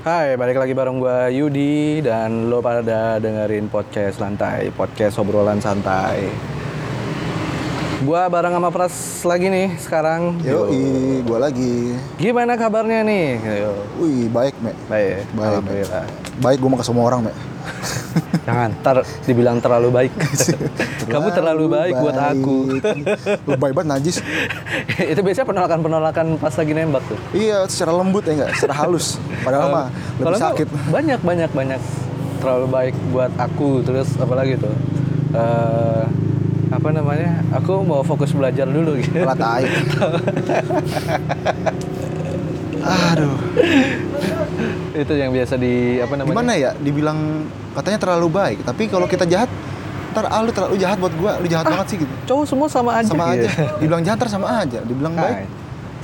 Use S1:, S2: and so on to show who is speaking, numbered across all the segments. S1: Hai, balik lagi bareng gue Yudi dan lo pada dengerin podcast lantai, podcast obrolan santai. Gua bareng sama Pras lagi nih sekarang.
S2: Yoi, gua lagi.
S1: Gimana kabarnya nih? Yo.
S2: Wih, baik, Mek.
S1: Baik,
S2: Baik.
S1: alhamdulillah.
S2: Baik gua mau ke semua orang, Mek.
S1: Jangan ntar dibilang terlalu baik. Kamu terlalu baik, buat aku.
S2: Lu baik banget najis.
S1: Itu biasanya penolakan-penolakan pas lagi nembak tuh.
S2: Iya, secara lembut ya enggak, secara halus. Padahal mah
S1: Oh. Kalau
S2: lebih
S1: enggak,
S2: sakit.
S1: Banyak banyak banyak terlalu baik buat aku terus apalagi tuh eh apa namanya aku mau fokus belajar dulu gitu.
S2: Pelat tai. Aduh.
S1: itu yang biasa di apa namanya?
S2: Gimana ya? Dibilang katanya terlalu baik, tapi kalau kita jahat ntar ah, lu terlalu jahat buat gua, lu jahat
S1: Ah.
S2: banget sih gitu.
S1: Cowok semua sama aja.
S2: Sama
S1: gitu.
S2: aja. Dibilang jahat ntar sama aja, dibilang
S1: Hai.
S2: baik.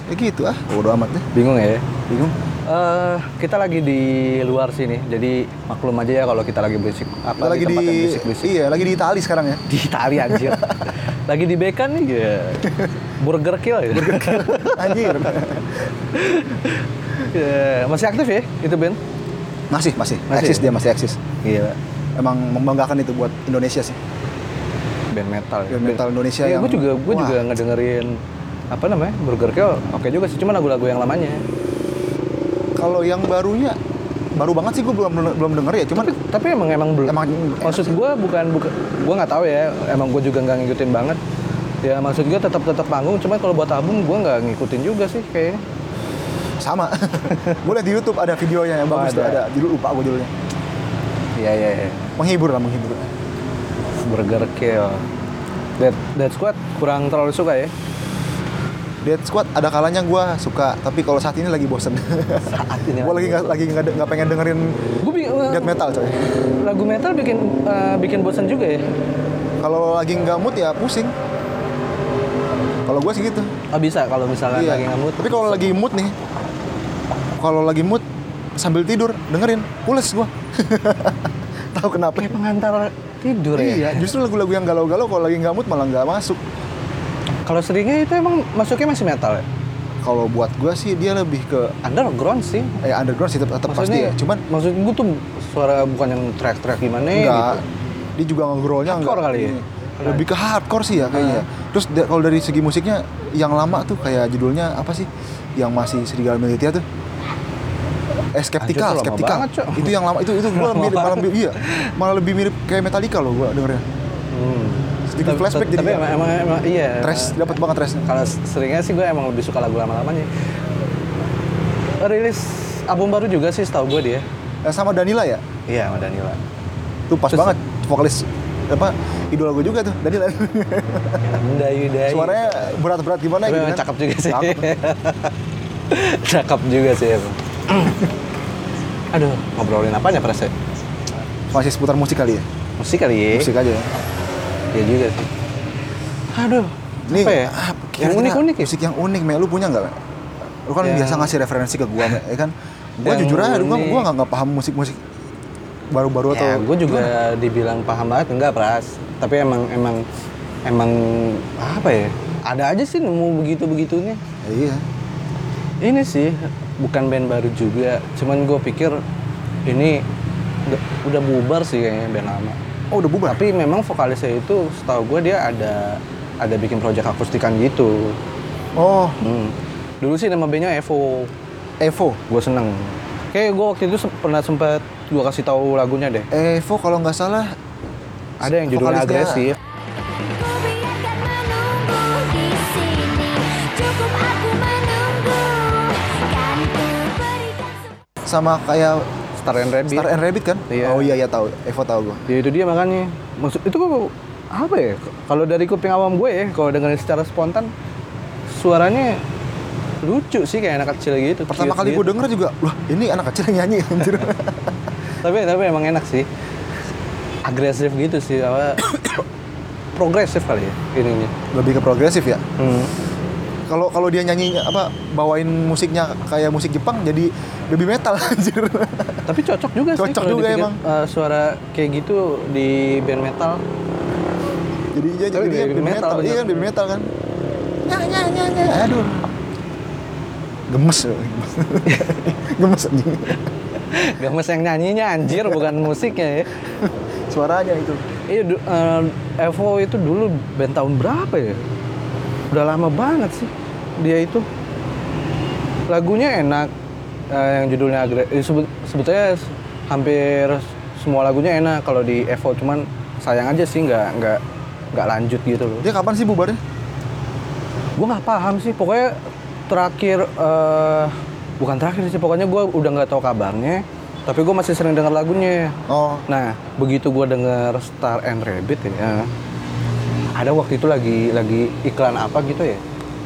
S2: Ya gitu ah, bodo amat deh.
S1: Bingung ya?
S2: Bingung.
S1: Eh kita lagi di luar sini, jadi maklum aja ya kalau kita lagi berisik.
S2: Kita
S1: Apa
S2: lagi di,
S1: tempat yang berisik-berisik?
S2: iya lagi di Itali sekarang ya
S1: Di Itali anjir. lagi di Bekan nih, ya. Burger Kill. Ya.
S2: anjir
S1: Ya, Masih aktif ya itu Iya. Ben?
S2: masih masih
S1: Masih?
S2: eksis dia masih eksis
S1: Gila.
S2: emang membanggakan itu buat Indonesia sih
S1: band metal ya.
S2: Band metal Indonesia
S1: ya,
S2: yang-
S1: gue juga gue
S2: Wah.
S1: juga ngedengerin apa namanya Burger Kill oke juga sih cuman lagu-lagu yang lamanya
S2: kalau yang barunya baru banget sih gue belum belum denger ya cuman
S1: tapi tapi emang emang belum
S2: Emang-
S1: maksud gue bukan bukan gue nggak tahu ya emang gue juga nggak ngikutin banget ya maksud gue tetap tetap panggung cuman kalau buat album gue nggak ngikutin juga sih kayaknya
S2: sama boleh di YouTube ada videonya yang bagus
S1: Oh,
S2: tuh
S1: ada.
S2: ada judul lupa gue judulnya
S1: iya iya iya.
S2: menghibur lah menghibur
S1: Burger Kill Dead, Dead Squad kurang terlalu suka ya
S2: Dead Squad ada kalanya gue suka tapi kalau saat ini lagi bosen
S1: saat ini
S2: gue lagi nggak lagi nggak de- nggak pengen dengerin
S1: gue
S2: death metal coy
S1: lagu metal bikin eh, bikin bosan juga ya
S2: kalau lagi nggak mood ya pusing kalau gue sih gitu
S1: oh, bisa kalau misalnya
S2: Iya.
S1: lagi ngamut
S2: Tapi kalau lagi mood nih, kalau lagi mood sambil tidur dengerin pules gua. Tahu kenapa?
S1: kayak pengantar tidur ya
S2: Iya, justru lagu-lagu yang galau-galau kalau lagi nggak mood malah nggak masuk.
S1: Kalau seringnya itu emang masuknya masih metal ya?
S2: Kalau buat gua sih dia lebih ke
S1: Underground sih.
S2: eh, underground sih tetap tetap pasti ya. Cuman
S1: maksud gue tuh suara bukan yang track-track gimana
S2: nggak
S1: gitu.
S2: dia juga ngegrowlnya nggak
S1: Hardcore kali ya?
S2: ini. lebih ke hardcore sih ya kayaknya. Terus da- kalau dari segi musiknya yang lama tuh kayak judulnya apa sih? Yang masih Serigala Militia tuh.
S1: Anjir,
S2: Eh, skeptikal,
S1: tuh lama
S2: skeptikal.
S1: banget, Cok.
S2: Itu yang lama itu itu gua
S1: Lama
S2: mirip malah mirip, iya. Malah lebih mirip kayak Metallica loh gua dengernya.
S1: Hmm.
S2: Sedikit
S1: Tapi-
S2: flashback
S1: Tapi
S2: jadinya.
S1: emang, emang, emang iya.
S2: Trash dapat banget trashnya.
S1: Kalau seringnya sih gue emang lebih suka lagu lama-lamanya. Rilis album baru juga sih setahu gue dia.
S2: Eh, sama Danila ya?
S1: Iya sama Danila.
S2: Tuh pas
S1: Terus-
S2: banget vokalis apa idola gue juga tuh Danila.
S1: Dayu Dayu.
S2: Suaranya berat-berat gimana
S1: Tapi emang
S2: kan.
S1: cakep juga sih.
S2: Cakep.
S1: cakep juga sih emang. Aduh, ngobrolin apanya Pres ya?
S2: Masih seputar musik kali ya?
S1: Musik kali ya?
S2: Musik aja ya.
S1: Ya juga sih. Aduh,
S2: Nih,
S1: apa ya?
S2: ah,
S1: yang
S2: kira-kira
S1: unik-unik ya?
S2: Musik yang unik, Mel. Lu punya nggak, Mel? Lu kan
S1: Yang-
S2: biasa ngasih referensi ke gua, Mel. Ya kan? Gua
S1: Yang
S2: jujur aja, gua,
S1: unik.
S2: gua nggak nggak paham musik-musik baru-baru atau...
S1: Ya, gue juga dibilang paham banget enggak, Pras. Tapi emang emang emang apa ya? Ada aja sih nemu begitu-begitunya.
S2: Ya, iya.
S1: Ini sih bukan band baru juga, cuman gue pikir ini udah, udah bubar sih kayaknya band lama.
S2: Oh, udah bubar?
S1: Tapi memang vokalisnya itu setahu gue dia ada ada bikin proyek akustikan gitu.
S2: Oh,
S1: Hmm. Dulu sih nama bandnya Evo.
S2: Evo.
S1: gue seneng kayak gue waktu itu sem- pernah sempet gue kasih tahu lagunya deh
S2: Evo kalau nggak salah...
S1: ada yang judulnya
S2: vokalisnya-
S1: agresif
S3: Ku biarkan menunggu di sini. Cukup aku menunggu. Kan ku berikan semua.
S2: Sama kayak
S1: Star and Rabbit
S2: Star and Rabbit kan?
S1: Iya.
S2: Oh iya, iya tahu. Evo tahu gua.
S1: ya itu dia makanya maksud itu gua- apa ya kalau dari kuping awam gue ya kalau dengerin secara spontan suaranya lucu sih kayak anak kecil gitu
S2: Pertama
S1: cute
S2: kali
S1: gitu.
S2: gua denger juga, wah ini anak kecil yang nyanyi anjir.
S1: tapi tapi emang enak sih agresif gitu sih apa progresif kali ya ininya
S2: Lebih ke progresif ya.
S1: hmm.
S2: Kalau kalau dia nyanyi apa bawain musiknya kayak musik Jepang jadi lebih metal anjir.
S1: tapi cocok juga sih
S2: Cocok
S1: kalau
S2: juga
S1: dipikir,
S2: emang.
S1: eh, suara kayak gitu di band metal
S2: jadi dia
S1: Tapi
S2: jadi dia
S1: baby
S2: baby
S1: metal,
S2: metal, iya
S1: bener.
S2: kan baby metal kan nyah nyah nyah nyah aduh gemes loh, gemes. gemes ya. anjing
S1: Games yang nyanyinya anjir bukan musiknya ya.
S2: Suaranya itu.
S1: Iya du- eh, Evo itu dulu band tahun berapa ya? Udah lama banget sih dia itu. Lagunya enak eh, yang judulnya Agre- eh, sebe- sebetulnya s- hampir semua lagunya enak kalau di Evo cuman sayang aja sih nggak nggak nggak lanjut gitu loh.
S2: Dia kapan sih bubarnya?
S1: gue nggak paham sih pokoknya terakhir eh, bukan terakhir sih pokoknya gue udah nggak tahu kabarnya tapi gue masih sering dengar lagunya
S2: Oh,
S1: nah begitu gue denger Star and Rabbit ya ada waktu itu lagi lagi iklan apa gitu ya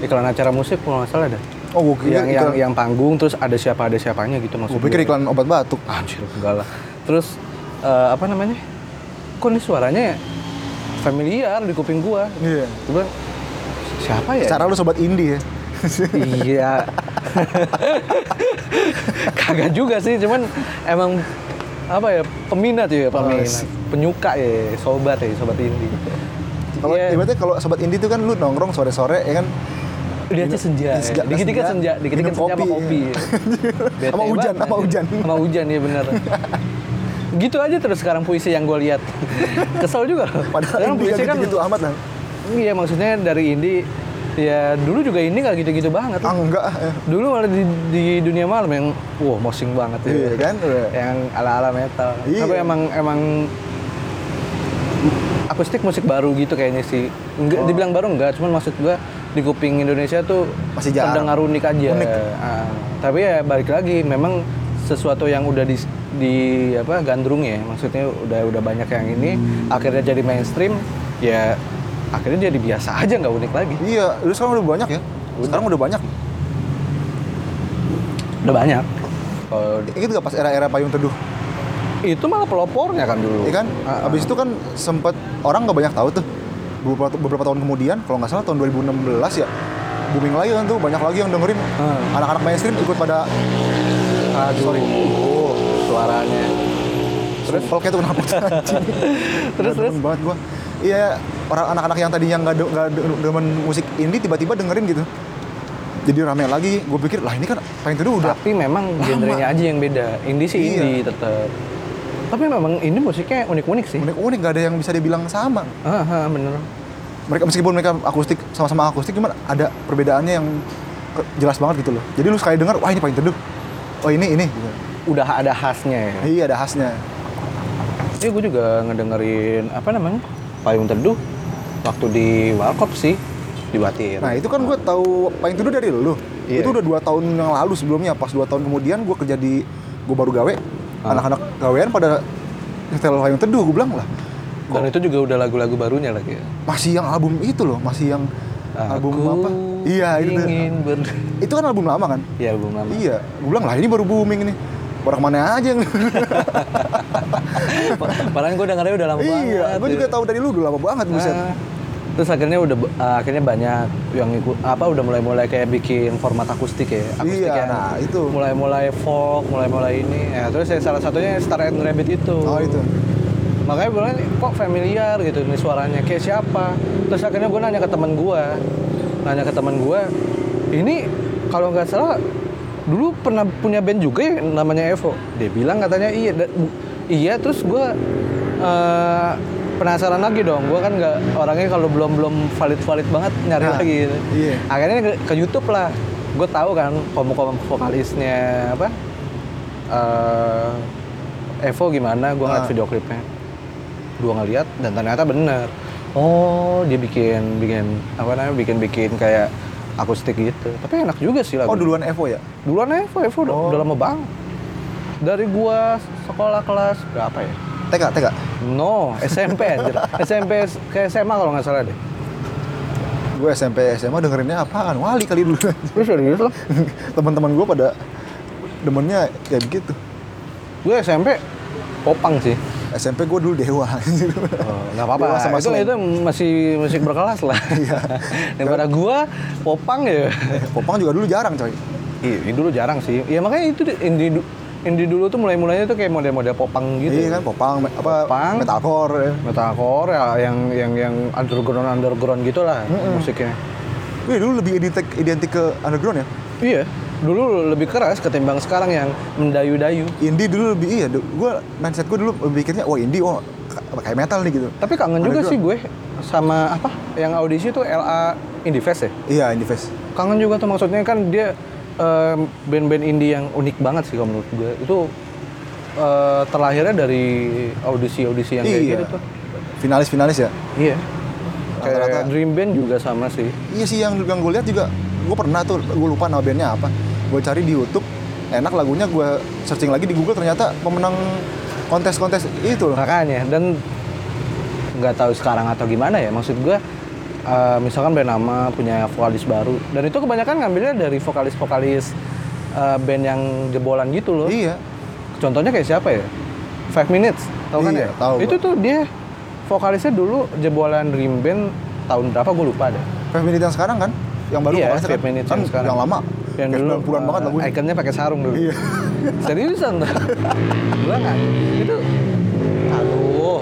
S1: iklan acara musik kalau nggak salah ada
S2: oh gue kira
S1: yang, yang
S2: iklan-
S1: yang panggung terus ada siapa ada siapanya gitu maksudnya
S2: gua pikir iklan obat batuk.
S1: anjir enggak lah terus eh, apa namanya kok ini suaranya familiar di kuping gue
S2: Iya.
S1: coba siapa ya
S2: Secara lu sobat indie ya.
S1: Iya. Kagak juga sih, cuman emang apa ya peminat ya peminat,
S2: sih.
S1: penyuka ya, sobat ya, sobat indie.
S2: Kalau
S1: Iya.
S2: ibaratnya kalau sobat indie itu kan lu nongkrong sore-sore ya kan
S1: Dia aja senja,
S2: Di senja-
S1: ya. dikit-dikit
S2: senja,
S1: senja, dikit-dikit
S2: minum
S1: senja sama
S2: kopi,
S1: kopi.
S2: iya.
S1: ya. Bete
S2: Sama hujan,
S1: banget,
S2: sama
S1: ya.
S2: hujan.
S1: Sama hujan ya bener. gitu aja terus sekarang puisi yang gue lihat. Kesel juga. loh.
S2: padahal
S1: Sekarang
S2: indie
S1: puisi
S2: kan gitu amat lah.
S1: Iya maksudnya dari indie ya dulu juga indie nggak gitu-gitu banget.
S2: Ah, enggak. eh.
S1: Dulu malah di, di dunia malam yang wah mosing banget ya.
S2: Iya kan? Udah.
S1: Yang ala-ala metal.
S2: Iya.
S1: Tapi emang emang akustik musik baru gitu kayaknya sih.
S2: Oh.
S1: Enggak dibilang baru enggak, cuman maksud gua di kuping Indonesia tuh
S2: Masih jarang.
S1: terdengar unik aja.
S2: Unik.
S1: Ah, tapi ya balik lagi memang sesuatu yang udah di di apa gandrung ya. Maksudnya udah udah banyak yang ini akhirnya jadi mainstream ya akhirnya jadi biasa aja nggak unik lagi.
S2: Iya, lu sekarang udah banyak ya? Sekarang udah banyak.
S1: Udah banyak. Kalau
S2: Ingat gak pas era-era payung teduh?
S1: itu malah pelopornya kan dulu
S2: Iya kan?
S1: Ah,
S2: Abis itu kan sempat orang nggak banyak tahu tuh. Beberapa, beberapa tahun kemudian, kalau nggak salah tahun 2016 ya, booming lagi kan tuh, banyak lagi yang dengerin.
S1: Hmm.
S2: Anak-anak mainstream ikut pada
S1: aduh
S2: sorry.
S1: Oh, suaranya
S2: terus kalau kayak tuh kenapa tuh anjing?
S1: Terus,
S2: Nggak demen
S1: terus?
S2: banget gua. Iya, orang anak-anak yang tadinya nggak de- nggak de- demen musik indie tiba-tiba dengerin gitu. Jadi rame lagi, gue pikir lah ini kan paling teduh udah
S1: tapi memang genrenya aja yang beda indie sih
S2: Iya.
S1: indie tetap tapi memang ini musiknya unik-unik sih
S2: unik-unik, nggak ada yang bisa dibilang sama.
S1: ah ah, bener
S2: mereka meskipun mereka akustik sama-sama akustik cuman ada perbedaannya yang ke- jelas banget gitu loh jadi lu sekali dengar wah ini paling teduh oh ini ini gitu.
S1: udah ada khasnya ya
S2: iya ada khasnya
S1: iya gue juga ngedengerin apa namanya payung teduh waktu di warkop sih di Batir
S2: nah itu kan gue tahu paling teduh dari lu
S1: Iya.
S2: itu udah dua tahun yang lalu sebelumnya pas dua tahun kemudian gue kerja di gue baru gawe
S1: Ah.
S2: anak-anak gawean pada setel paling teduh gue bilang lah
S1: dan itu juga udah lagu-lagu barunya lagi ya
S2: masih yang album itu loh masih yang album
S1: Ah, Aku
S2: apa iya itu tuh.
S1: ingin ber
S2: itu kan album lama kan
S1: ya album lama
S2: iya gue bilang lah ini baru booming nih orang mana aja yang
S1: padahal gue dengernya udah lama banget
S2: Iya, gue
S1: ya.
S2: juga tahu dari lu udah lama banget buset.
S1: Ah. Terus akhirnya udah ah, akhirnya banyak yang ikut apa udah mulai-mulai kayak bikin format akustik ya. Akustik
S2: Iya,
S1: yang
S2: nah, itu.
S1: Mulai-mulai folk, mulai-mulai ini. Ya, terus yang salah satunya Star and Rabbit itu.
S2: Oh itu.
S1: Makanya gue bilang, kok familiar gitu ini suaranya kayak siapa. Terus akhirnya gue nanya ke teman gue, nanya ke teman gue, ini kalau nggak salah dulu pernah punya band juga ya namanya Evo. Dia bilang katanya iya, Da- bu- iya. Terus gue eh, penasaran lagi dong. Gue kan nggak orangnya kalau belum belum valid valid banget nyari
S2: Nah,
S1: lagi. Gitu.
S2: iya.
S1: Akhirnya ke, ke YouTube lah. Gue tahu kan komo-komo vokalisnya apa. eh, Evo gimana? Gue ngeliat
S2: Ah.
S1: video klipnya gua ngeliat dan ternyata bener oh dia bikin bikin apa namanya bikin bikin kayak akustik gitu tapi enak juga sih lagu
S2: Oh duluan Evo ya?
S1: duluan Evo Evo udah,
S2: Oh.
S1: udah lama banget dari gua sekolah kelas berapa ya
S2: TK, TK.
S1: no SMP anjir SMP ke SMA kalau nggak salah deh
S2: Gue SMP, SMA dengerinnya apaan? Wali kali dulu.
S1: terus serius loh
S2: Teman-teman gue pada demennya kayak begitu.
S1: gue SMP popang sih
S2: SMP gue dulu dewa.
S1: Oh, nggak apa-apa
S2: Dewasa
S1: itu,
S2: masuk.
S1: itu masih masih berkelas lah daripada gua popang ya
S2: Popang juga dulu jarang coy.
S1: Iya, ini dulu jarang sih. Ya makanya itu di- indie, du- indie dulu tuh mulai-mulainya tuh kayak model-model popang gitu.
S2: Iya kan Popang, me- apa
S1: Popang.
S2: metalcore ya.
S1: Metalcore ya, yang yang yang underground underground gitulah musiknya.
S2: Wih dulu lebih identik, identik ke underground ya.
S1: Iya. dulu lebih keras ketimbang sekarang yang mendayu-dayu.
S2: indie dulu lebih iya gue mindset gue dulu mikirnya wah indie wah k- kayak metal nih gitu
S1: Tapi kangen
S2: Ada
S1: juga
S2: juga.
S1: sih gue sama apa yang audisi itu LA Indie Fest ya.
S2: iya indie face
S1: Kangen juga tuh maksudnya kan dia em, band-band indie yang unik banget sih kalau menurut gue. Itu eh, terlahirnya dari audisi-audisi yang kayak gitu tuh.
S2: finalis finalis Iya. ya
S1: Iya.
S2: Rata-rata.
S1: Kayak Dream Band juga sama sih.
S2: iya sih yang yang gue lihat juga gue pernah tuh gue lupa nama bandnya apa gue cari di YouTube enak lagunya gue searching lagi di Google ternyata pemenang kontes-kontes itu loh
S1: Makanya dan nggak tahu sekarang atau gimana ya maksud gue eh, misalkan band nama punya vokalis baru dan itu kebanyakan ngambilnya dari vokalis-vokalis eh, band yang jebolan gitu loh.
S2: iya
S1: Contohnya kayak siapa ya? Five Minutes, tahu kan ya?
S2: Iya, tahu
S1: itu
S2: gua.
S1: tuh dia vokalisnya dulu jebolan Dream Band tahun berapa gue lupa deh.
S2: Five Minute yang sekarang kan yang baru
S1: Iya,
S2: kemarin
S1: Five Minutes
S2: kan
S1: yang sekarang.
S2: yang lama
S1: Yang
S2: kayak
S1: dulu
S2: 90-an banget
S1: eh,
S2: lagunya
S1: Ikonnya pakai sarung dulu.
S2: Iya.
S1: Seriusan tuh. Gua nggak. Itu aduh.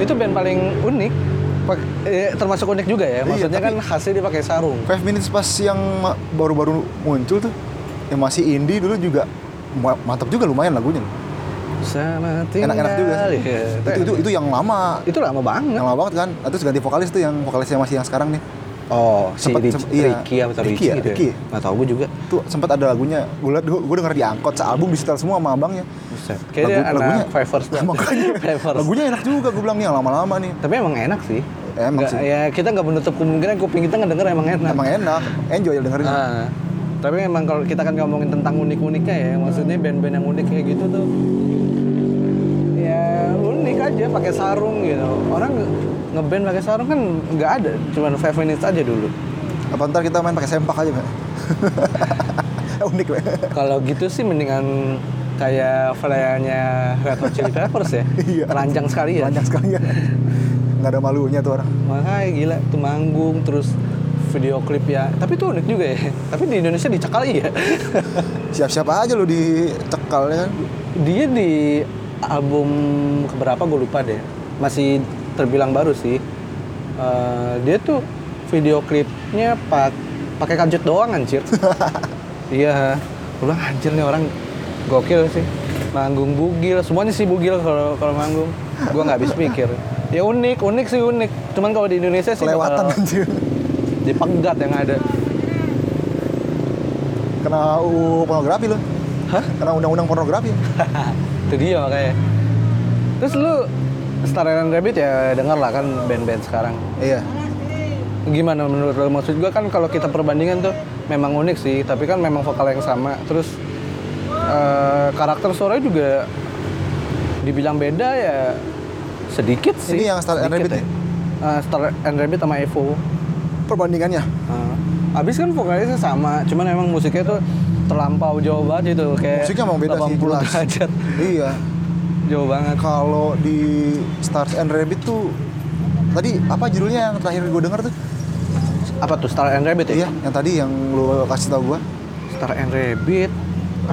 S1: Itu band paling unik. Pak- eh, termasuk unik juga ya. Maksudnya
S2: Iya, tapi-
S1: kan khasnya dia pakai sarung.
S2: Five Minutes pas yang ma- baru-baru muncul tuh yang masih indie dulu juga ma- mantap juga lumayan lagunya loh.
S1: Sama tinggal.
S2: enak-enak juga sih.
S1: ya.
S2: itu, itu itu yang lama
S1: Itu lama banget.
S2: yang lama banget kan Nah, terus ganti vokalis tuh yang vokalisnya masih yang sekarang nih
S1: Oh, si
S2: Sempet-
S1: Rich-
S2: sempet- iya.
S1: Ricky atau
S2: Ricky
S1: Ricky,
S2: ya,
S1: gitu ya?
S2: Ricky.
S1: Nggak tahu gue juga.
S2: tuh sempat ada lagunya gue liat gue denger di angkot sealbum disetel semua sama abangnya
S1: Buset. Kayaknya
S2: Lagu-
S1: anak
S2: lagunya-
S1: Fivers banget.
S2: makanya
S1: Fivers.
S2: lagunya enak juga gue bilang nih yang lama-lama nih
S1: Tapi emang enak sih.
S2: Emang
S1: Nggak-
S2: sih.
S1: Ya kita nggak menutup kemungkinan kuping kita ngedenger emang enak.
S2: emang enak enjoy dengerin
S1: Ah, tapi emang kalau kita kan ngomongin tentang unik-uniknya ya, maksudnya band-band yang unik kayak gitu tuh ya unik aja pakai sarung gitu. Orang nge- ngeband pakai sarung kan nggak ada, cuman five minutes aja dulu.
S2: apa ntar kita main pakai sempak aja Pak? unik Pak.
S1: Kalau gitu sih mendingan kayak flyernya Red Hot Chili Peppers ya,
S2: Iya.
S1: ranjang sekali ya.
S2: banyak sekali ya nggak ada malunya tuh orang
S1: Makanya gila tuh manggung terus video klip ya. Tapi itu unik juga ya. Tapi di Indonesia dicekal iya.
S2: siap-siap aja lo dicekal ya kan
S1: Dia di album keberapa gue lupa deh. Masih terbilang baru sih. Eh, dia tuh video klipnya pak pakai kancut doang anjir. iya. Gue bilang anjir nih orang gokil sih. Manggung bugil, semuanya sih bugil kalau kalau manggung. Gue nggak habis pikir. Ya unik, unik sih unik. Cuman kalau di Indonesia sih Iya,
S2: kelewatan
S1: bakal
S2: anjir
S1: dipegat yang ada.
S2: kena UU pornografi lo
S1: Hah?
S2: kena undang-undang pornografi
S1: itu dia makanya terus lu Star and Rabbit ya denger lah kan band-band sekarang
S2: iya
S1: gimana menurut lu maksud gua kan kalau kita perbandingan tuh memang unik sih tapi kan memang vokal yang sama terus eh, karakter suaranya juga dibilang beda ya sedikit sih
S2: Ini yang Star and
S1: sedikit
S2: Rabbit ya?
S1: Eh, Star and Rabbit sama Evo
S2: perbandingannya
S1: Nah, abis kan vokalisnya sama, cuman emang musiknya tuh terlampau jauh banget itu kayak
S2: Musiknya emang beda sih,
S1: 80
S2: jelas.
S1: derajat.
S2: iya
S1: Jauh banget.
S2: kalau di Stars and Rabbit tuh tadi apa judulnya yang terakhir gue denger tuh
S1: Apa tuh Star and Rabbit ya?
S2: iya yang tadi yang lo kasih tau gue
S1: Star and Rabbit.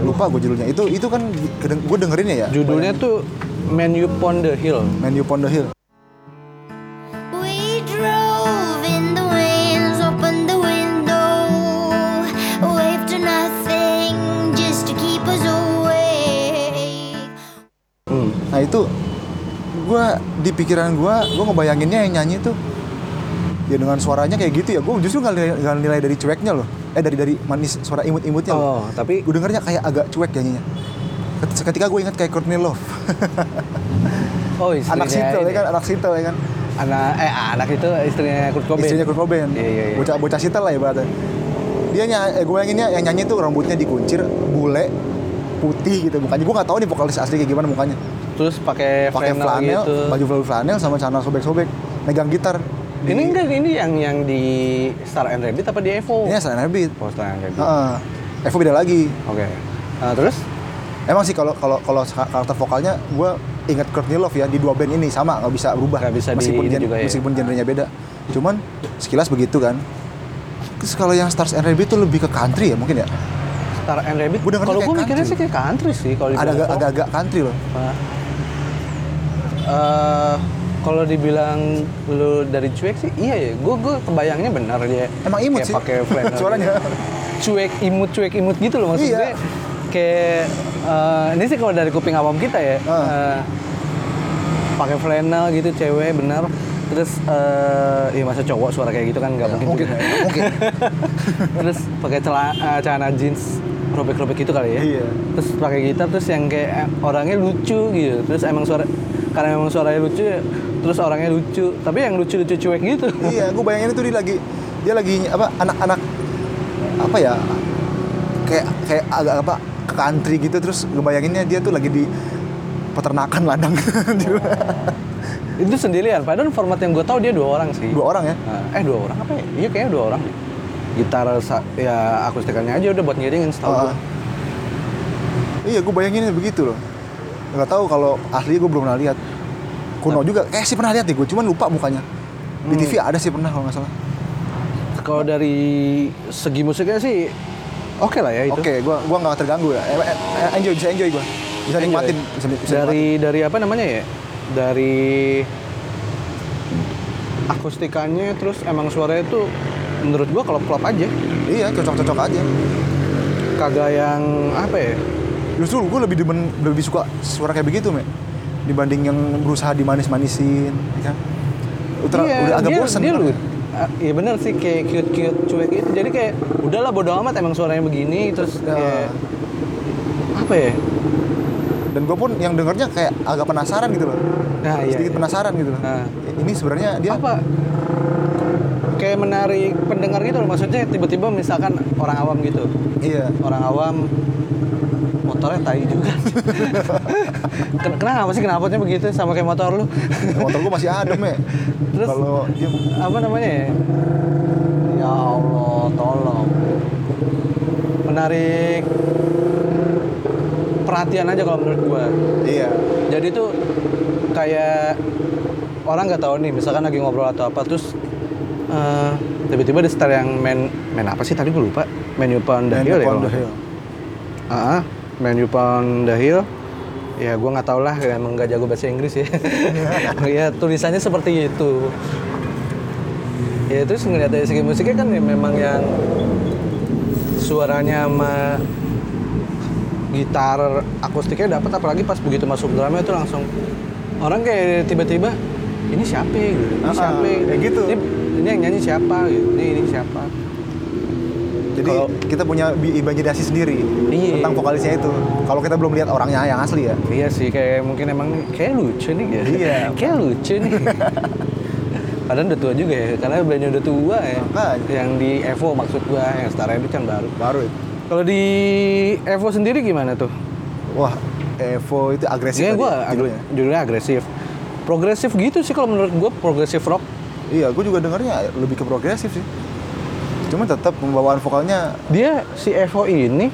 S2: lupa gue judulnya itu itu kan gue dengerin ya
S1: Judulnya tuh Man You Upon the Hill.
S2: Man You Upon the Hill
S3: We drove in the winds, opened the window, waved to nothing just to keep us awake.
S1: Hmm.
S2: nah itu gue di pikiran gue gue ngebayanginnya yang nyanyi tuh ya dengan suaranya kayak gitu ya gue justru nggak nilai, nggak nilai dari cueknya loh eh dari dari manis suara imut-imutnya
S1: Oh,
S2: loh.
S1: tapi
S2: gue dengernya kayak agak cuek nyanyinya Ket- ketika gue ingat kayak Courtney Love
S1: oh istrinya
S2: anak sintel ya
S1: ini.
S2: kan anak sintel ya kan
S1: Anak eh anak itu istrinya Kurt Cobain.
S2: istrinya Kurt
S1: Iya,
S2: Cobain
S1: iya, iya.
S2: bocah bocah sintel lah ibaratnya dia nyanyi eh, gue yanginnya yang nyanyi tuh rambutnya dikuncir bule putih gitu mukanya gue nggak tahu nih vokalis asli kayak gimana mukanya
S1: Terus pakai
S2: pakai
S1: flannel,
S2: flanel
S1: gitu.
S2: baju flanel flanel sama celana sobek sobek megang gitar Di-
S1: Ini enggak ini yang yang di Star and Rabbit apa di Evo?
S2: ini Aslan Habit
S1: Oh, Star and Rabbit.
S2: Heeh. Evo beda lagi
S1: Oke. Nah, terus
S2: emang sih kalau kalau kalau ska- karakter vokalnya gue inget Courtney Love ya di dua band ini sama nggak bisa berubah
S1: Nggak bisa di-
S2: meskipun
S1: ini
S2: gen-
S1: juga ya.
S2: meskipun genrenya beda cuman sekilas begitu kan terus kalau yang Stars and Rabbit itu lebih ke country ya mungkin ya
S1: Star and Rabbit.
S2: Gua dengernya
S1: Kalau
S2: kayak
S1: gue mikirnya
S2: country.
S1: sih kayak country sih kalau
S2: ada
S1: dibilang
S2: agak
S1: folk.
S2: agak, agak country loh
S1: Nah. Eh, Kalau dibilang lu dari cuek sih, iya ya. Gue gue kebayangnya benar dia.
S2: Emang
S1: Kayak
S2: imut sih.
S1: Pakai flannel gitu.
S2: Suaranya.
S1: Cuek imut cuek imut gitu loh maksud
S2: Iya.
S1: gue. Kayak eh, ini sih kalau dari kuping awam kita ya.
S2: Ah.
S1: eh, pakai flannel gitu cewek benar. Terus eh ya masa cowok suara kayak gitu kan nggak mungkin.
S2: Ya, mungkin,
S1: juga.
S2: mungkin.
S1: terus pakai celana eh, celana jeans robek-robek gitu kali ya
S2: Iya.
S1: terus pakai gitar terus yang kayak eh, orangnya lucu gitu terus emang suara karena memang suaranya lucu ya, terus orangnya lucu tapi yang lucu-lucu cuek gitu
S2: iya, gue bayangin itu dia lagi dia lagi apa anak-anak apa ya kayak kayak agak apa ke country gitu terus gue bayanginnya dia tuh lagi di peternakan ladang Di rumah.
S1: itu sendirian padahal format yang gue tahu dia dua orang sih
S2: dua orang ya
S1: Nah, eh dua orang apa ya iya kayaknya dua orang deh. gitar sa- ya akustikannya aja udah buat ngiringin setahu
S2: Ah,
S1: gue.
S2: ah. iya gue bayanginnya begitu loh nggak tahu kalau asli gue belum pernah lihat kuno juga eh sih pernah lihat deh gue cuman lupa mukanya
S1: Hmm.
S2: di TV ada sih pernah kalau nggak salah
S1: kalau dari segi musiknya sih oke lah ya itu
S2: oke gue gua nggak terganggu ya Eh, eh, enjoy bisa enjoy gue bisa nikmatin
S1: Enjoy.
S2: bisa, bisa
S1: dari dari apa namanya ya dari akustikannya terus emang suaranya tuh menurut gua kalau klop aja
S2: nikmatin. iya cocok-cocok aja
S1: kagak yang apa ya
S2: justru gue lebih demen lebih suka suara kayak begitu me dibanding yang berusaha dimanis-manisin ya kan Udah,
S1: Iya,
S2: udah agak
S1: dia,
S2: bosen
S1: dia
S2: kan?
S1: lu Ah, Iya bener sih kayak cute cute cuek gitu jadi kayak udahlah bodo amat emang suaranya begini terus
S2: Ya.
S1: kayak apa ya
S2: dan gue pun yang dengernya kayak agak penasaran gitu loh
S1: Nah, iya,
S2: sedikit ya.
S1: iya.
S2: penasaran gitu loh
S1: Nah.
S2: ini sebenarnya dia
S1: apa kayak menarik pendengar gitu loh maksudnya tiba-tiba misalkan orang awam gitu
S2: iya
S1: orang awam motornya tai juga Ken- kenapa sih knalpotnya begitu sama kayak motor lu
S2: motor gue masih adem ya
S1: Terus-
S2: kalau dia
S1: apa namanya ya ya Allah tolong menarik perhatian aja kalau menurut gua
S2: iya
S1: jadi tuh kayak orang nggak tahu nih misalkan lagi ngobrol atau apa terus eh, tiba-tiba ada setel yang main main apa sih tadi gue lupa main You Pound the
S2: Dan
S1: Hill ya
S2: upon
S1: kalau
S2: the
S1: nggak salah.
S2: hill.
S1: Ah, Man You Pound the Hill. Ya gue nggak tau lah, emang nggak jago bahasa Inggris ya. ya tulisannya seperti itu. Ya terus ngeliat dari segi musiknya kan ya memang yang suaranya sama gitar akustiknya dapat apalagi pas begitu masuk drumnya itu langsung orang kayak tiba-tiba ini siapa ya?" gitu ini
S2: Ah, ah,
S1: siapa ya?"
S2: kayak gitu.
S1: ini, ini yang nyanyi siapa gitu ini ini siapa
S2: jadi
S1: Kalau-
S2: kita punya bi- imajinasi sendiri
S1: Iya.
S2: tentang vokalisnya itu kalau kita belum lihat orangnya yang asli ya
S1: Iya sih, kayak mungkin emang kayak lucu nih gitu.
S2: Iya.
S1: kayak lucu nih. Padahal udah tua juga ya, karena brandnya udah tua ya.
S2: Makanya.
S1: Yang di Evo maksud gua, yang Star Edit kan baru.
S2: baru itu
S1: Kalau di Evo sendiri gimana tuh?
S2: wah Evo itu agresif
S1: Iya
S2: tadi ya,
S1: gua ag-
S2: judulnya.
S1: judulnya agresif. Progresif gitu sih kalau menurut gua progresif rock.
S2: Iya, gue juga dengarnya lebih ke progresif sih. Cuman tetap pembawaan vokalnya
S1: Dia si Evo ini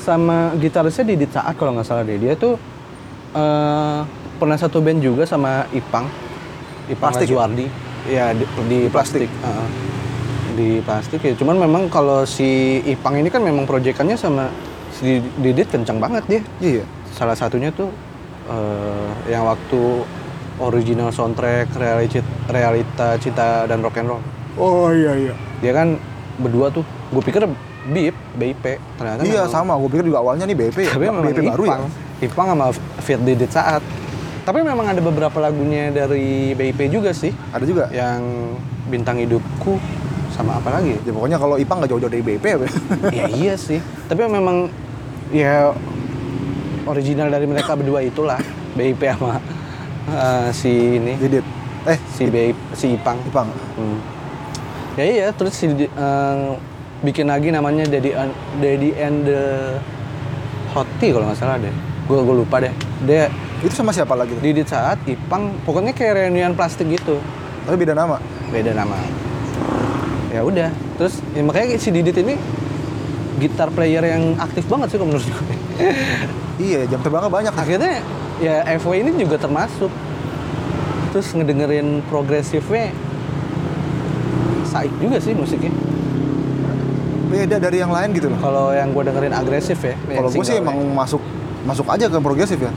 S1: sama gitarisnya Didit Saat kalau nggak salah deh. Dia tuh eh, pernah satu band juga sama Ipang. Ipang
S2: Plastik ya?
S1: Lajuardi. Ya, di, di plastik. Heeh. Di plastik ya. Cuman memang kalau si Ipang ini kan memang proyekannya sama si Didit kencang banget dia.
S2: iya.
S1: Salah satunya tuh eh, yang waktu original soundtrack realita, realita cinta dan rock and roll
S2: Oh iya iya.
S1: dia kan berdua tuh gue pikir BIP BIP ternyata
S2: iya
S1: memang-
S2: sama, gue pikir juga awalnya nih BP,
S1: tapi memang
S2: BP baru ya.
S1: Ipang Ipang sama Fit Didit Saat tapi memang ada beberapa lagunya dari BIP juga sih
S2: Ada juga. Ya,
S1: yang bintang hidupku sama apa lagi
S2: Ya, pokoknya kalau Ipang nggak jauh-jauh dari BP ya.
S1: ya iya sih tapi memang ya original dari mereka berdua itulah BIP sama eh, si ini
S2: Didit. Eh,
S1: si BIP si Ipang
S2: Ipang.
S1: Hmm. Ya iya, terus si, eh, bikin lagi namanya Daddy and, Daddy and the Hot Tea kalau nggak salah deh. Gue gue lupa deh. Dia
S2: Itu sama siapa lagi? tuh?
S1: Didit saat Ipang, pokoknya kayak reunian plastik gitu,
S2: Tapi beda nama.
S1: beda nama. Ya udah, terus ya makanya si Didit ini gitar player yang aktif banget sih kalau menurut gue.
S2: Iya, jam terbangnya banyak.
S1: Akhirnya ya FW ini juga termasuk. Terus ngedengerin progresifnya saik juga sih musiknya.
S2: Beda dari yang lain gitu loh.
S1: Kalau yang gue dengerin agresif ya. yang
S2: Kalau gue sih
S1: single-nya.
S2: emang masuk masuk aja ke progresif ya.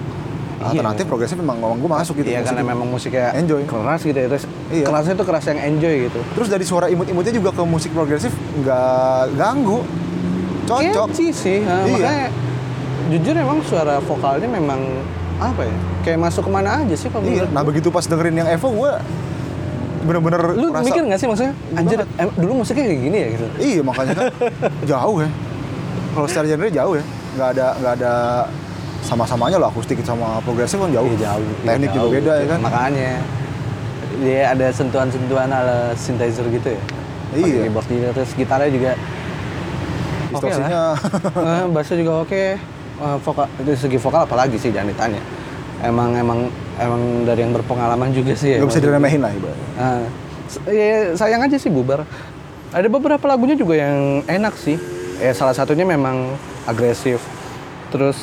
S2: alternatif progresif memang ngomong gue masuk gitu
S1: Iya
S2: musik
S1: karena
S2: itu.
S1: memang musiknya
S2: Enjoy.
S1: keras gitu ya. Terus
S2: Iya.
S1: kerasnya tuh keras yang enjoy gitu.
S2: terus dari suara imut-imutnya juga ke musik progresif nggak ganggu cocok
S1: Catchy sih. Nah,
S2: Iya.
S1: Makanya jujur emang suara vokalnya memang apa ya? Kayak masuk kemana aja sih kalau
S2: iya
S1: menurut
S2: nah
S1: gua.
S2: begitu pas dengerin yang Evo gue bener-bener
S1: Lu
S2: merasa-
S1: mikir nggak sih maksudnya?
S2: Iya
S1: Anjir,
S2: banget.
S1: em- dulu musiknya kayak gini ya gitu.
S2: Iya makanya kan jauh ya. Kalau secara genre jauh ya. Nggak ada nggak ada sama-samanya loh akustik sama progresif kan jauh.
S1: Iya, jauh.
S2: Teknik
S1: Jauh,
S2: juga beda ya
S1: gitu.
S2: kan.
S1: Makanya dia ada sentuhan-sentuhan ala synthesizer gitu ya. Pakai
S2: Iya.
S1: keyboard gitu, terus gitarnya juga oke lah.
S2: Distorsinya.
S1: Eh, bassnya juga oke. Eh, vokal dari segi vokal apalagi sih jangan ditanya. Emang emang emang dari yang berpengalaman juga sih ya.
S2: nggak bisa
S1: maksudnya.
S2: diremehin lah ibaratnya.
S1: Nah, s- ya, sayang aja sih bubar. Ada beberapa lagunya juga yang enak sih. Ya salah satunya memang agresif. Terus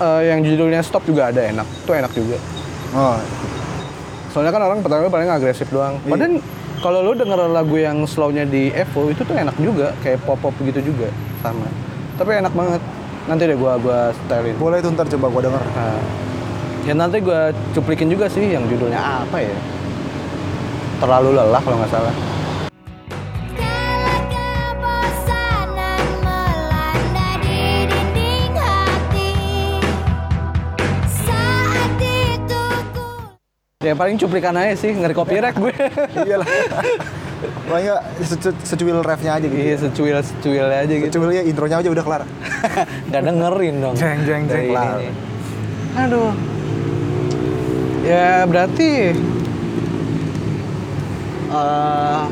S1: eh, yang judulnya Stop juga ada enak. Itu enak juga.
S2: Oh,
S1: Soalnya kan orang pertama paling agresif doang.
S2: Iya.
S1: Padahal kalau lo denger lagu yang slow-nya di Evo itu tuh enak juga, kayak pop-pop gitu juga sama. Tapi enak banget. Nanti deh gua gua stylein.
S2: boleh tuh ntar coba gua denger.
S1: Nah, ya nanti gua cuplikin juga sih yang judulnya apa ya? Terlalu lelah kalau nggak salah.
S3: Segala kebosanan melanda di dinding hati Saat itu ku
S1: Ya paling cuplikan aja sih, ngeri copyright gue.
S2: Iyalah. Makanya secu- secuil refnya aja gitu.
S1: Iya, secuil secuil aja gitu.
S2: Secuilnya intronya aja udah kelar.
S1: Gak dengerin dong.
S2: Jeng, jeng,
S1: Dari
S2: jeng, lah.
S1: ini. Aduh. Ya berarti eh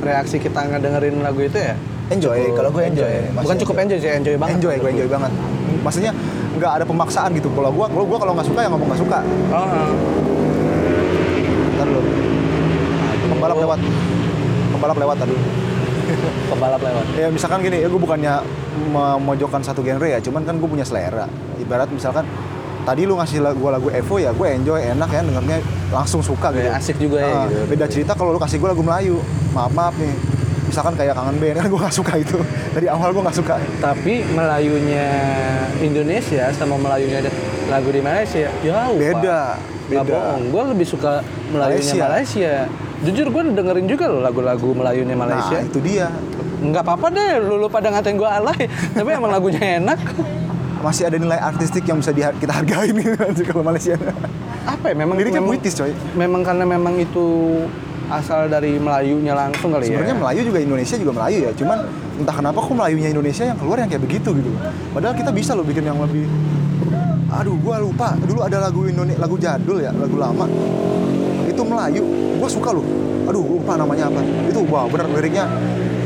S1: reaksi kita nggak dengerin lagu itu ya?
S2: Enjoy,
S1: cukup
S2: kalau gue enjoy, masih
S1: Bukan cukup enjoy sih, enjoy banget.
S2: enjoy,
S1: menurut
S2: gue enjoy banget. Maksudnya nggak ada pemaksaan gitu. Kalau gua, kalau gua kalau nggak suka ya ngomong nggak suka.
S1: Oh, oh.
S2: Ntar dulu. Pembalap
S1: Oh.
S2: lewat. Pembalap lewat tadi.
S1: Pembalap lewat.
S2: ya misalkan gini ya gue bukannya memojokkan satu genre ya cuman kan gue punya selera ibarat misalkan tadi lu ngasih gue lagu Evo ya gue enjoy enak ya dengarnya langsung suka gitu
S1: Ya, asik juga ya,
S2: Ah,
S1: gitu.
S2: beda cerita kalau lu kasih gue lagu Melayu maaf maaf nih misalkan kayak kangen band kan gue nggak suka itu dari awal gue nggak suka
S1: Tapi Melayunya Indonesia sama Melayunya ada lagu di Malaysia ya jauh
S2: Beda,
S1: Pak.
S2: beda.
S1: Nggak bohong, gue lebih suka Melayunya
S2: Malaysia.
S1: Malaysia. Jujur gue dengerin juga loh lagu-lagu Melayunya Malaysia.
S2: nah itu dia
S1: Nggak apa-apa deh, lu, lu pada ngatain gue alay. Tapi emang lagunya enak.
S2: masih ada nilai artistik yang bisa diha- kita hargain gitu nanti kalau Malaysia
S1: Apa ya? Memang
S2: liriknya
S1: memang,
S2: puitis coy
S1: memang karena memang itu asal dari Melayunya langsung kali
S2: Sebenarnya
S1: ya.
S2: Melayu juga Indonesia juga Melayu ya, cuman entah kenapa kok Melayunya Indonesia yang keluar yang kayak begitu gitu. Padahal kita bisa loh bikin yang lebih Aduh, gua lupa. Dulu ada lagu Indonesia, lagu jadul ya, lagu lama. Itu Melayu. Gua suka loh. Aduh, gua lupa namanya apa. Itu wow, bener liriknya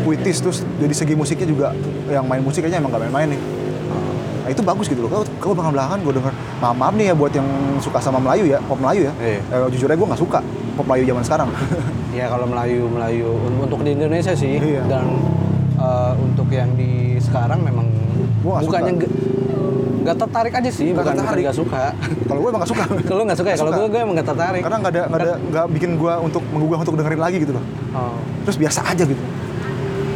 S2: puitis terus dari segi musiknya juga yang main musik kayaknya emang gak main-main nih.
S1: Oh.
S2: Nah, itu bagus gitu loh. Kalau kalau belakang belakangan gue denger, maaf, maaf nih ya buat yang suka sama Melayu ya, pop Melayu ya.
S1: Iya.
S2: Eh, jujur aja gue nggak suka pop Melayu zaman sekarang.
S1: Ya kalau Melayu Melayu un- untuk di Indonesia sih
S2: Iya.
S1: dan eh, untuk yang di sekarang memang
S2: Gua nggak
S1: bukannya
S2: suka.
S1: nggak- nggak tertarik aja sih, bukan
S2: Nggak
S1: bukan
S2: tertarik.
S1: nggak suka.
S2: kalau gue emang nggak suka.
S1: Kalau nggak suka ya,
S2: Nggak
S1: kalau
S2: suka.
S1: gue gue emang nggak tertarik.
S2: karena nggak ada nggak ada nggak bikin gue untuk menggugah untuk dengerin lagi gitu loh
S1: Oh,
S2: terus biasa aja gitu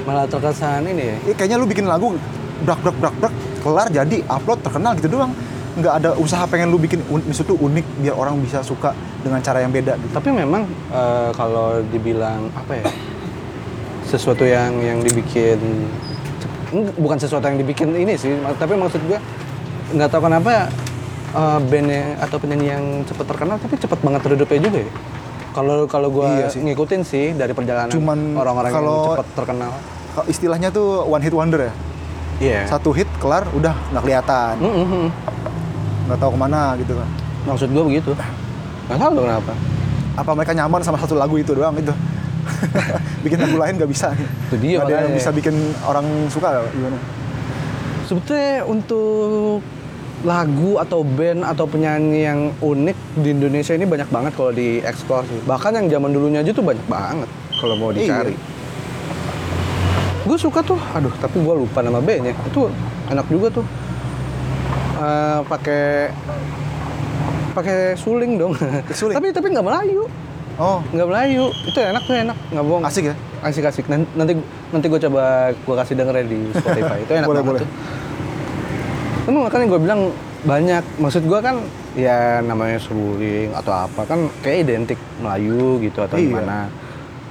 S1: malah terkesan ini ya.
S2: ya, kayaknya lu bikin lagu brak brak brak brak kelar jadi upload terkenal gitu doang nggak ada usaha pengen lu bikin un, maksud lu unik biar orang bisa suka dengan cara yang beda gitu
S1: Tapi memang eh, kalau dibilang apa ya sesuatu yang yang dibikin Nggak- bukan sesuatu yang dibikin ini sih, ma- tapi maksud gue nggak tahu kenapa eh, band yang- atau penyanyi yang cepet terkenal tapi cepet banget terhidupnya juga ya. Kalau kalau gue
S2: Iya sih.
S1: ngikutin sih dari perjalanan
S2: Cuman
S1: orang-orang yang
S2: kalau-
S1: cepet terkenal.
S2: Kalau istilahnya tuh one hit wonder ya
S1: Iya.
S2: satu hit kelar udah nggak kelihatan
S1: Mm-mm. Hmm?
S2: nggak tahu kemana gitu kan
S1: Maksud gue begitu. Nggak tahu tuh kenapa.
S2: apa mereka nyaman sama satu lagu itu doang gitu bikin lagu lain nggak bisa
S1: Itu dia
S2: Nggak ada yang
S1: makanya.
S2: bisa bikin orang suka gimana
S1: Sebetulnya untuk lagu atau band atau penyanyi yang unik di Indonesia ini banyak banget kalau di ekspor sih. Bahkan yang zaman dulunya aja tuh banyak banget kalau mau
S2: Iya.
S1: dicari. Gue suka tuh, aduh tapi gue lupa nama bandnya. Itu enak juga tuh. Eh, pakai pakai suling dong.
S2: Suling?
S1: tapi tapi nggak melayu,
S2: oh
S1: nggak melayu. Itu enak tuh enak, nggak bohong
S2: asik ya
S1: asik asik Nan- nanti nanti gue coba gue kasih denger ya di Spotify itu enak
S2: Boleh,
S1: banget
S2: boleh.
S1: tuh. Emang makanya gue bilang banyak maksud gua kan ya namanya seruling atau apa kan kayak identik Melayu gitu atau
S2: Iya.
S1: gimana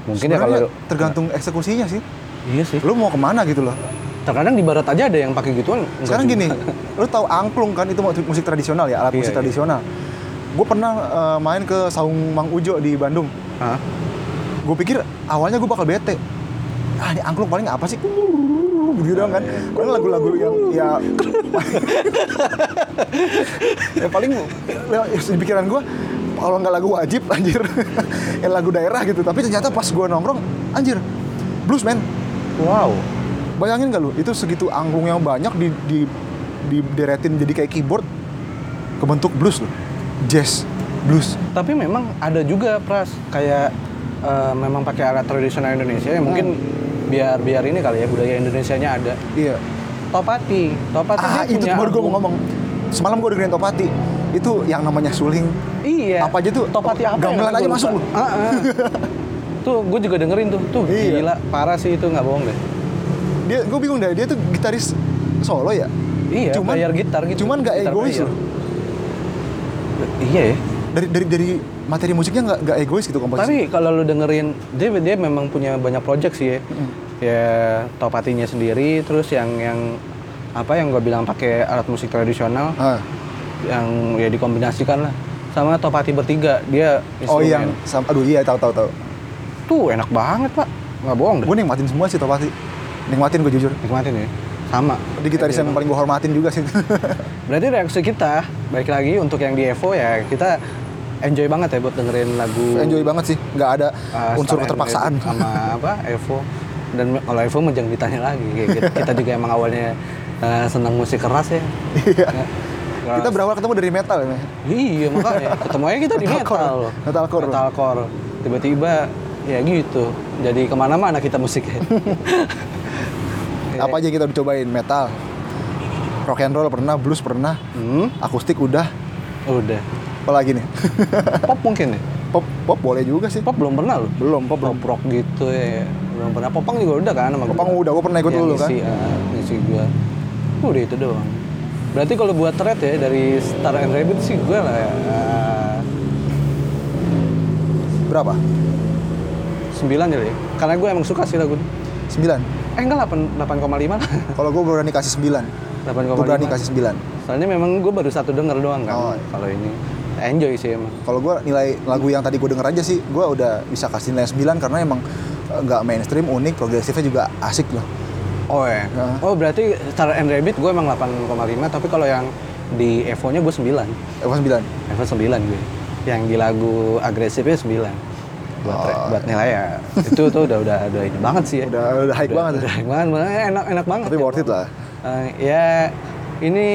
S1: mungkin ya
S2: Sebenarnya
S1: kalau
S2: tergantung eksekusinya sih.
S1: iya sih
S2: Lu mau kemana gitu loh.
S1: terkadang di barat aja ada yang pakai gituan enggak
S2: Sekarang
S1: juga.
S2: gini, lu tahu angklung kan itu musik tradisional ya,
S1: Iya,
S2: alat musik
S1: iya.
S2: tradisional. Gue pernah eh, main ke Saung Mang Ujo di Bandung.
S1: Hah?
S2: Gue pikir awalnya gue bakal bete. Ah, ini angklung paling apa sih? Gitu doang kan. Padahal lagu-lagu yang ya ya paling le- di pikiran gue kalau nggak lagu wajib anjir ya lagu daerah gitu tapi ternyata pas gue nongkrong anjir blues man
S1: wow
S2: Bayangin gak lu, itu segitu angklung yang banyak di, di, dideretin jadi kayak keyboard kebentuk blues loh. Jazz, blues.
S1: tapi memang ada juga pras kayak eh, memang pakai alat tradisional Indonesia yang mungkin
S2: Hmm.
S1: biar biar ini kali ya budaya Indonesianya ada
S2: Iya.
S1: Topati Topati
S2: Ah,
S1: dia
S2: itu
S1: punya
S2: baru gue
S1: album.
S2: mau ngomong. Semalam gue dengerin Topati. Itu yang namanya suling.
S1: Iya.
S2: Apa aja tuh?
S1: Topati apa?
S2: Gamelan aja masuk lu.
S1: Heeh. tuh gue juga dengerin tuh. Tuh
S2: Iya.
S1: gila, parah sih itu nggak bohong deh.
S2: Dia gue bingung deh, dia tuh gitaris solo ya?
S1: Iya, player gitar gitu.
S2: Cuman gak
S1: Gitar
S2: egois
S1: player.
S2: loh.
S1: Iya ya.
S2: Dari dari dari materi musiknya nggak nggak egois gitu
S1: Tapi
S2: komposisi.
S1: kalau lu dengerin dia dia memang punya banyak project sih ya. Ya Topatinya sendiri terus yang yang apa yang gue bilang pakai alat musik tradisional
S2: Ah.
S1: yang ya dikombinasikan lah sama Topati bertiga dia
S2: Oh
S1: instrumen.
S2: yang sam- aduh iya tahu tahu tahu.
S1: tuh enak banget pak nggak bohong deh
S2: Gue nikmatin semua sih Topati. Nikmatin gue jujur.
S1: nikmatin ya sama
S2: Di gitaris yang paling gue hormatin juga sih.
S1: Berarti reaksi kita, baik lagi untuk yang di Evo ya, kita enjoy banget ya buat dengerin lagu
S2: enjoy banget sih nggak ada
S1: uh,
S2: unsur
S1: Star
S2: keterpaksaan
S1: Energy sama apa Evo dan me- kalau Evo mah jangan ditanya lagi kayak gitu. kita juga emang awalnya uh, senang musik keras ya
S2: Iya.
S1: Ya. Keras.
S2: kita berawal ketemu dari metal ya Meh.
S1: iya makanya ketemu aja kita di
S2: Metalcore.
S1: metal
S2: Metalcore.
S1: Metalcore. tiba-tiba ya gitu jadi kemana-mana kita musiknya
S2: apa aja yang kita udah cobain metal rock and roll pernah blues pernah
S1: hmm,
S2: akustik udah
S1: udah
S2: apa lagi nih
S1: pop mungkin ya
S2: pop pop boleh juga sih
S1: pop belum pernah loh
S2: belum pop belum
S1: pop rock gitu ya belum pernah popang juga udah kan sama
S2: Popang
S1: gua.
S2: udah, gua pernah ikut
S1: Yang
S2: dulu kan.
S1: ngisi, ah, ngisi gua udah itu doang berarti kalau buat thread ya dari Star and Rabbit sih gue lah ah,
S2: berapa
S1: sembilan kali ya karena gue emang suka sih lagu ini.
S2: 9
S1: eh enggak 8 8,5 lah
S2: kalau gue berani kasih 9 gue berani
S1: 8,5
S2: kasih 9
S1: soalnya memang gue baru satu denger doang kan
S2: Oh.
S1: kalau ini enjoy sih emang
S2: kalau gue nilai lagu yang tadi gue denger aja sih gue udah bisa kasih nilai 9 karena emang eh, nggak mainstream unik progresifnya juga asik loh
S1: oh ya
S2: Ah.
S1: oh berarti Star and Rabbit gue emang 8,5 tapi kalau yang di Evo nya gue 9
S2: Evan 9
S1: level 9 gue yang di lagu agresifnya 9 buat,
S2: Oh.
S4: buat nilai ya itu tuh udah udah udah ini banget sih ya
S2: udah udah high banget
S1: Eh, udah high banget malah enak enak banget
S2: tapi
S1: ya.
S2: worth it lah
S1: Eh, ya ini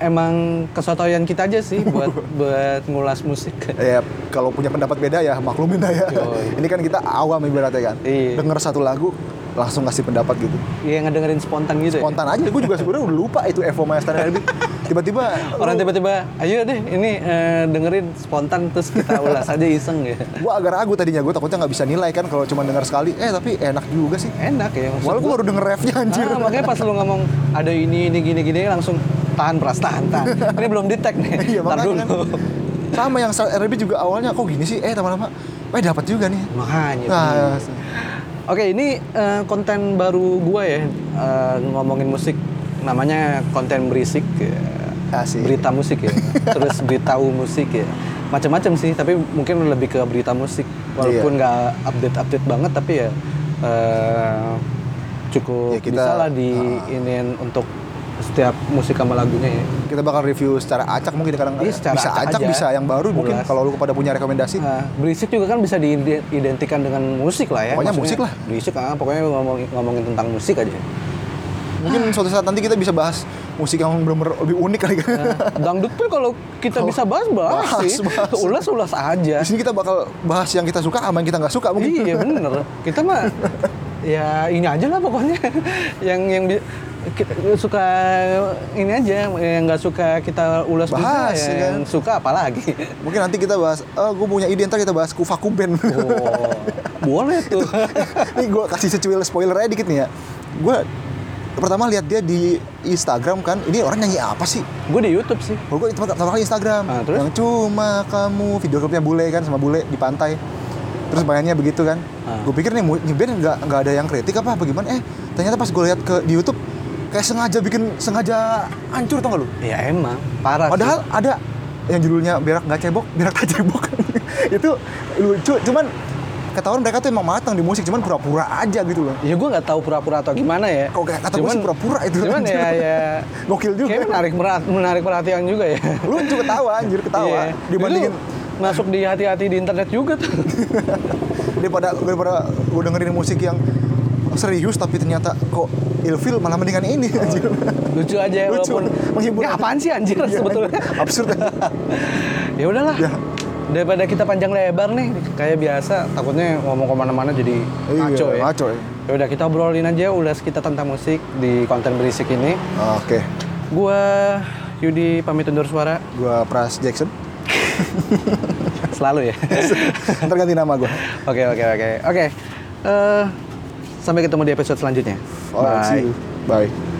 S1: emang kesotoyan kita aja sih buat buat ngulas musik
S2: ya kalau punya pendapat beda ya maklumin lah ya.
S1: Yoi.
S2: Ini kan kita awam ibaratnya kan.
S1: Iya.
S2: Denger satu lagu langsung kasih pendapat gitu.
S1: ya ngedengerin spontan gitu ya.
S2: Spontan aja gue juga sebenarnya udah lupa itu Evo Master Arabic. Tiba-tiba
S1: orang tiba-tiba ayo deh ini eh, dengerin spontan terus kita ulas aja iseng ya
S2: gue agak ragu tadinya gue takutnya nggak bisa nilai kan kalau cuma denger sekali eh tapi enak juga sih
S1: enak ya maksud
S2: walau gue
S1: gua.
S2: baru denger refnya anjir
S1: Ah, makanya pas lu ngomong ada ini ini gini gini langsung tahan pras tahan tahan. Ini belum detect nih.
S2: iya
S1: Ntar
S2: makanya kan
S1: dulu.
S2: sama yang Star Arabic juga awalnya kok gini sih eh lama-lama eh dapat juga nih
S1: Makanya.
S2: nah
S1: Oke, ini eh, konten baru gua ya eh, ngomongin musik. Namanya konten berisik. ya.
S2: Asik.
S1: Berita musik ya. Terus beritahu musik ya. Macam-macam sih, tapi mungkin lebih ke berita musik.
S2: Iya.
S1: Walaupun nggak update-update banget tapi ya eh, cukup
S2: Ya, kita- ah.
S1: bisa lah di iniin untuk setiap musik sama lagunya ya.
S2: kita bakal review secara acak mungkin kadang
S1: Iya, secara
S2: bisa
S1: acak
S2: acak,
S1: aja.
S2: bisa yang baru mungkin
S1: Ulas.
S2: kalau lu pada punya rekomendasi
S1: Nah, berisik juga kan bisa diidentikan dengan musik lah ya.
S2: Pokoknya musik lah.
S1: Berisik ah, pokoknya ngomong, ngomongin tentang musik aja.
S2: Mungkin suatu saat nanti kita bisa bahas musik yang belum lebih unik kali kan.
S1: Iya. Dangdut pun kalau kita bisa bahas bahas,
S2: Bahas,
S1: sih.
S2: bahas.
S1: Ulas ulas aja.
S2: Di sini kita bakal bahas yang kita suka sama yang kita nggak suka mungkin.
S1: iya bener. Kita mah ya ini aja lah pokoknya yang yang bi- kita suka ini aja yang nggak suka kita ulas juga,
S2: Bahas, ya
S1: yang suka apalagi
S2: Mungkin nanti kita bahas, oh gue punya ide ntar kita bahas kufaku band.
S1: oh, boleh tuh
S2: Ini gue kasih secuil spoiler aja dikit nih ya. Gue pertama lihat dia di Instagram kan ini orang nyanyi apa sih
S1: Gue di YouTube sih.
S2: Kalau gue itu pertama kali Instagram.
S1: Ah, terus?
S2: Yang cuma kamu video klipnya bule kan sama bule di pantai. Terus bayarnya begitu kan.
S1: Ah.
S2: Gue pikir nih mu- nih band nggak nggak ada yang kritik apa apa gimana? Eh ternyata pas gue lihat ke di YouTube kayak sengaja bikin sengaja hancur tau gak lu?
S1: Ya emang parah.
S2: Padahal ada yang judulnya berak nggak cebok, berak tak cebok. itu lucu, cuman ketahuan mereka tuh emang matang di musik, cuman pura-pura aja gitu loh.
S1: sih. ya gue nggak tahu pura-pura atau gimana ya.
S2: Kalau kayak kata gue sih pura-pura itu.
S1: Cuman ya ya.
S2: Gokil juga.
S1: Kayak menarik merat- menarik perhatian juga ya.
S2: Lucu ketawa, anjir ketawa.
S1: Iya.
S2: ah, Dibandingin
S1: Itu masuk di hati-hati di internet juga tuh.
S2: daripada daripada gue dengerin musik yang serius tapi ternyata kok ilfil malah mendingan ini anjir.
S1: Lucu aja ya,
S2: Lucu,
S1: walaupun
S2: menghibur.
S1: Ya, apaan sih anjir
S2: Iya,
S1: sebetulnya.
S2: anjir. absurd anjir.
S1: ya udahlah.
S2: Ya.
S1: Daripada kita panjang lebar nih, kayak biasa takutnya ngomong kemana-mana jadi
S2: Iya,
S1: ngaco ya.
S2: ngaco ya.
S1: Ya udah kita obrolin aja ulas kita tentang musik di konten berisik ini.
S2: oke
S1: Gua Yudi pamit undur suara
S2: gue Pras Jackson
S1: selalu ya.
S2: ntar ganti nama gue
S1: Oke oke oke oke. Eh, Sampai ketemu di episode selanjutnya.
S2: bye